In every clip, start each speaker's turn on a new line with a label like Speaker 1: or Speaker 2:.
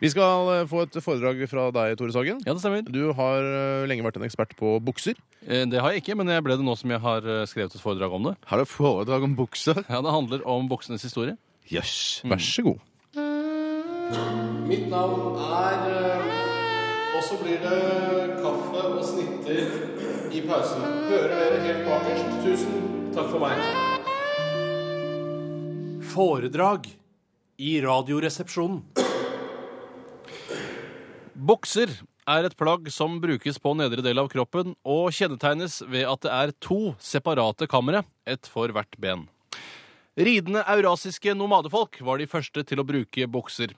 Speaker 1: Vi skal eh, få et foredrag fra deg, Tore Sagen.
Speaker 2: Ja, det stemmer.
Speaker 1: Du har eh, lenge vært en ekspert på bukser.
Speaker 2: Eh, Det har jeg ikke, men jeg ble det nå som jeg har eh, skrevet et foredrag om det.
Speaker 3: Har du foredrag om bukser?
Speaker 2: Ja, Det handler om buksenes historie.
Speaker 3: Jøss.
Speaker 1: Mm. Vær så god.
Speaker 4: Mitt navn er eh, Og så blir det kaffe og snitter i pausen. Hører dere helt bakerst? Tusen takk for meg. Foredrag i Radioresepsjonen.
Speaker 2: Bukser er et plagg som brukes på nedre del av kroppen og kjennetegnes ved at det er to separate kamre, ett for hvert ben. Ridende eurasiske nomadefolk var de første til å bruke bukser.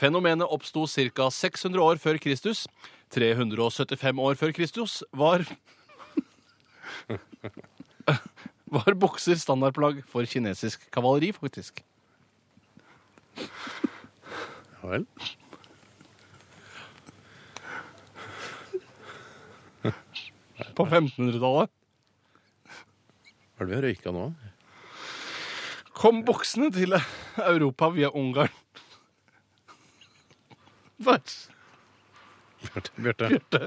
Speaker 2: Fenomenet oppsto ca. 600 år før Kristus. 375 år før Kristus var var bukser standardplagg for kinesisk kavaleri, faktisk.
Speaker 1: Ja vel.
Speaker 2: På 1500-tallet
Speaker 1: Hva er det vi har røyka nå?
Speaker 2: kom buksene til Europa via Ungarn. Vær så
Speaker 1: Bjarte, Bjarte.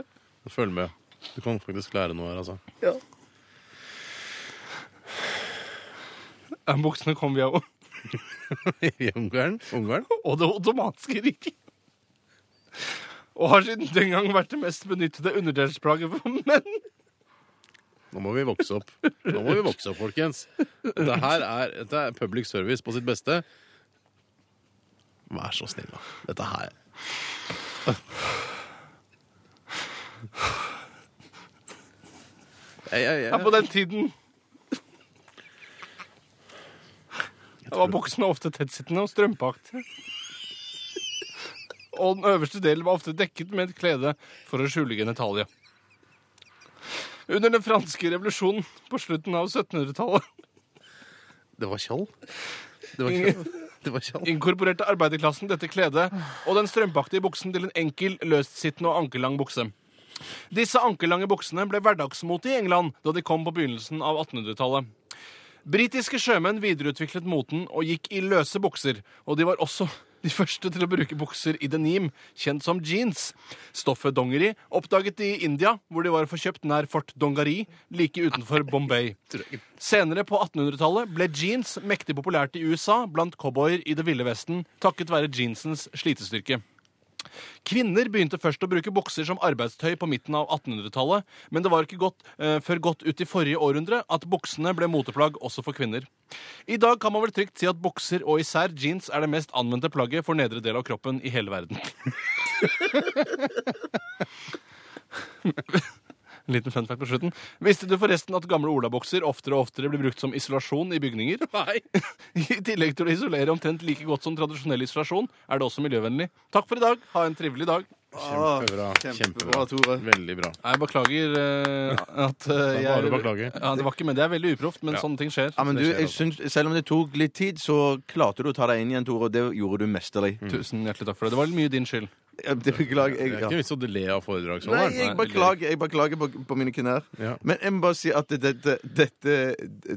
Speaker 1: Følg med. Du kan faktisk lære noe her, altså.
Speaker 2: Ja, Buksene kom via O-
Speaker 1: I Ungarn. Ungarn?
Speaker 2: og det ottomanske riket. Og har siden den gang vært det mest benyttede underdelsplagget for menn.
Speaker 1: Nå må vi vokse opp. Nå må vi vokse opp, folkens. Dette her er, dette er public service på sitt beste. Vær så snill, da. Dette her jeg, jeg,
Speaker 2: Ja, på
Speaker 1: jeg,
Speaker 2: den tiden Da var buksene ofte tettsittende og strømpaaktige. Og den øverste delen var ofte dekket med et klede for å skjule genitalia. Under den franske revolusjonen på slutten av 1700-tallet
Speaker 1: Det var Kjall. Det var Kjall. Det var Kjall.
Speaker 2: inkorporerte arbeiderklassen dette kledet og den strømpaktige buksen til en enkel, løstsittende og ankellang bukse. Disse ankellange buksene ble hverdagsmote i England da de kom på begynnelsen av 1800-tallet. Britiske sjømenn videreutviklet moten og gikk i løse bukser, og de var også de første til å bruke bukser i denim, kjent som jeans. Stoffet dongeri oppdaget de i India, hvor de var forkjøpt nær Fort Dongari, like utenfor Bombay. Senere på 1800-tallet ble jeans mektig populært i USA blant cowboyer i det ville vesten takket være jeansens slitestyrke. Kvinner begynte først å bruke bukser som arbeidstøy på midten av 1800-tallet, men det var ikke godt, eh, før godt ut i forrige århundre at buksene ble moteplagg også for kvinner. I dag kan man vel trygt si at bukser og især jeans er det mest anvendte plagget for nedre del av kroppen i hele verden. Liten fun fact på slutten. Visste du forresten at gamle olabukser oftere og oftere blir brukt som isolasjon i bygninger? Nei. I tillegg til å isolere omtrent like godt som tradisjonell isolasjon, er det også miljøvennlig. Takk for i dag. Ha en trivelig dag.
Speaker 1: Ah, Kjempebra.
Speaker 3: Kjempebra, Tore.
Speaker 1: Veldig bra.
Speaker 2: Jeg beklager eh, at
Speaker 1: Det
Speaker 2: eh,
Speaker 1: er
Speaker 2: jeg
Speaker 1: bare å beklage.
Speaker 2: Ja, det var ikke men Det er veldig uproft, men
Speaker 1: Ja.
Speaker 2: sånne ting skjer.
Speaker 3: Ja, men du,
Speaker 1: Det skjer
Speaker 3: jeg
Speaker 1: altså.
Speaker 3: syns, Selv om det tok litt tid, så klarte du å ta deg inn igjen, Tore, og det gjorde du mesterlig.
Speaker 1: Mm.
Speaker 2: Tusen hjertelig takk for det. Det var mye din skyld.
Speaker 3: Ja, Det beklager
Speaker 1: Det er
Speaker 3: jeg.
Speaker 1: ikke
Speaker 3: Ja.
Speaker 1: vits å le av
Speaker 3: Nei,
Speaker 1: foredragsholderen.
Speaker 3: jeg beklager, jeg beklager på, på mine knær.
Speaker 1: Ja.
Speaker 3: Men jeg må bare si at dette, dette,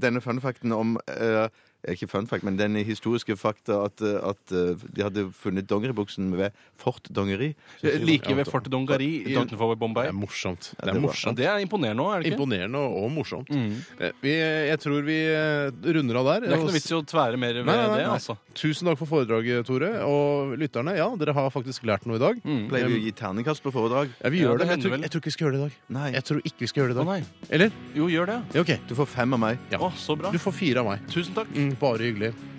Speaker 3: denne funfacten om eh, Ikke funfact, men den historiske fakta at, eh, at eh, de hadde funnet dongeribuksen ved Fort Dongeri.
Speaker 2: Eh, Like ved
Speaker 1: Ja,
Speaker 2: Fort Dongari i-
Speaker 3: Don-
Speaker 2: utenfor
Speaker 1: Det
Speaker 2: Bombay.
Speaker 1: er morsomt.
Speaker 3: det
Speaker 1: Det er
Speaker 3: var-
Speaker 1: morsomt.
Speaker 2: Ja, det er imponerende òg, er det ikke? Mm.
Speaker 1: Imponerende og og morsomt. Eh, Vi, jeg tror vi eh, runder av der.
Speaker 2: Det er ikke
Speaker 1: og
Speaker 2: noe vits i å tvære mer ved
Speaker 1: Nei, nei, nei,
Speaker 2: det,
Speaker 1: nei.
Speaker 2: altså.
Speaker 1: Tusen takk for foredraget, Tore. Og lytterne, ja, dere har faktisk lært noe i dag.
Speaker 3: Pleier vi å gi terningkast på foredrag?
Speaker 1: Ja, vi
Speaker 2: Mm. Ja,
Speaker 1: gjør det, men jeg
Speaker 2: det hender
Speaker 1: tror,
Speaker 2: vel.
Speaker 1: jeg tror ikke vi skal gjøre det i dag.
Speaker 3: Nei.
Speaker 1: Jeg tror ikke vi skal gjøre det i
Speaker 2: Å
Speaker 1: dag.
Speaker 2: nei.
Speaker 1: Eller?
Speaker 2: Jo, gjør det.
Speaker 1: Ja, OK.
Speaker 3: Du får fem av meg.
Speaker 1: Ja.
Speaker 2: Å, så bra.
Speaker 1: Du får fire av meg.
Speaker 2: Tusen takk.
Speaker 1: Mm, bare hyggelig.